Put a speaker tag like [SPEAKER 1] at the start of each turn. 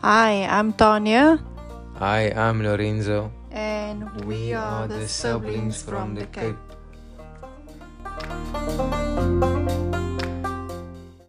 [SPEAKER 1] Hi, I'm Tanya,
[SPEAKER 2] Hi, I'm Lorenzo.
[SPEAKER 1] and we, are, the siblings from the Cape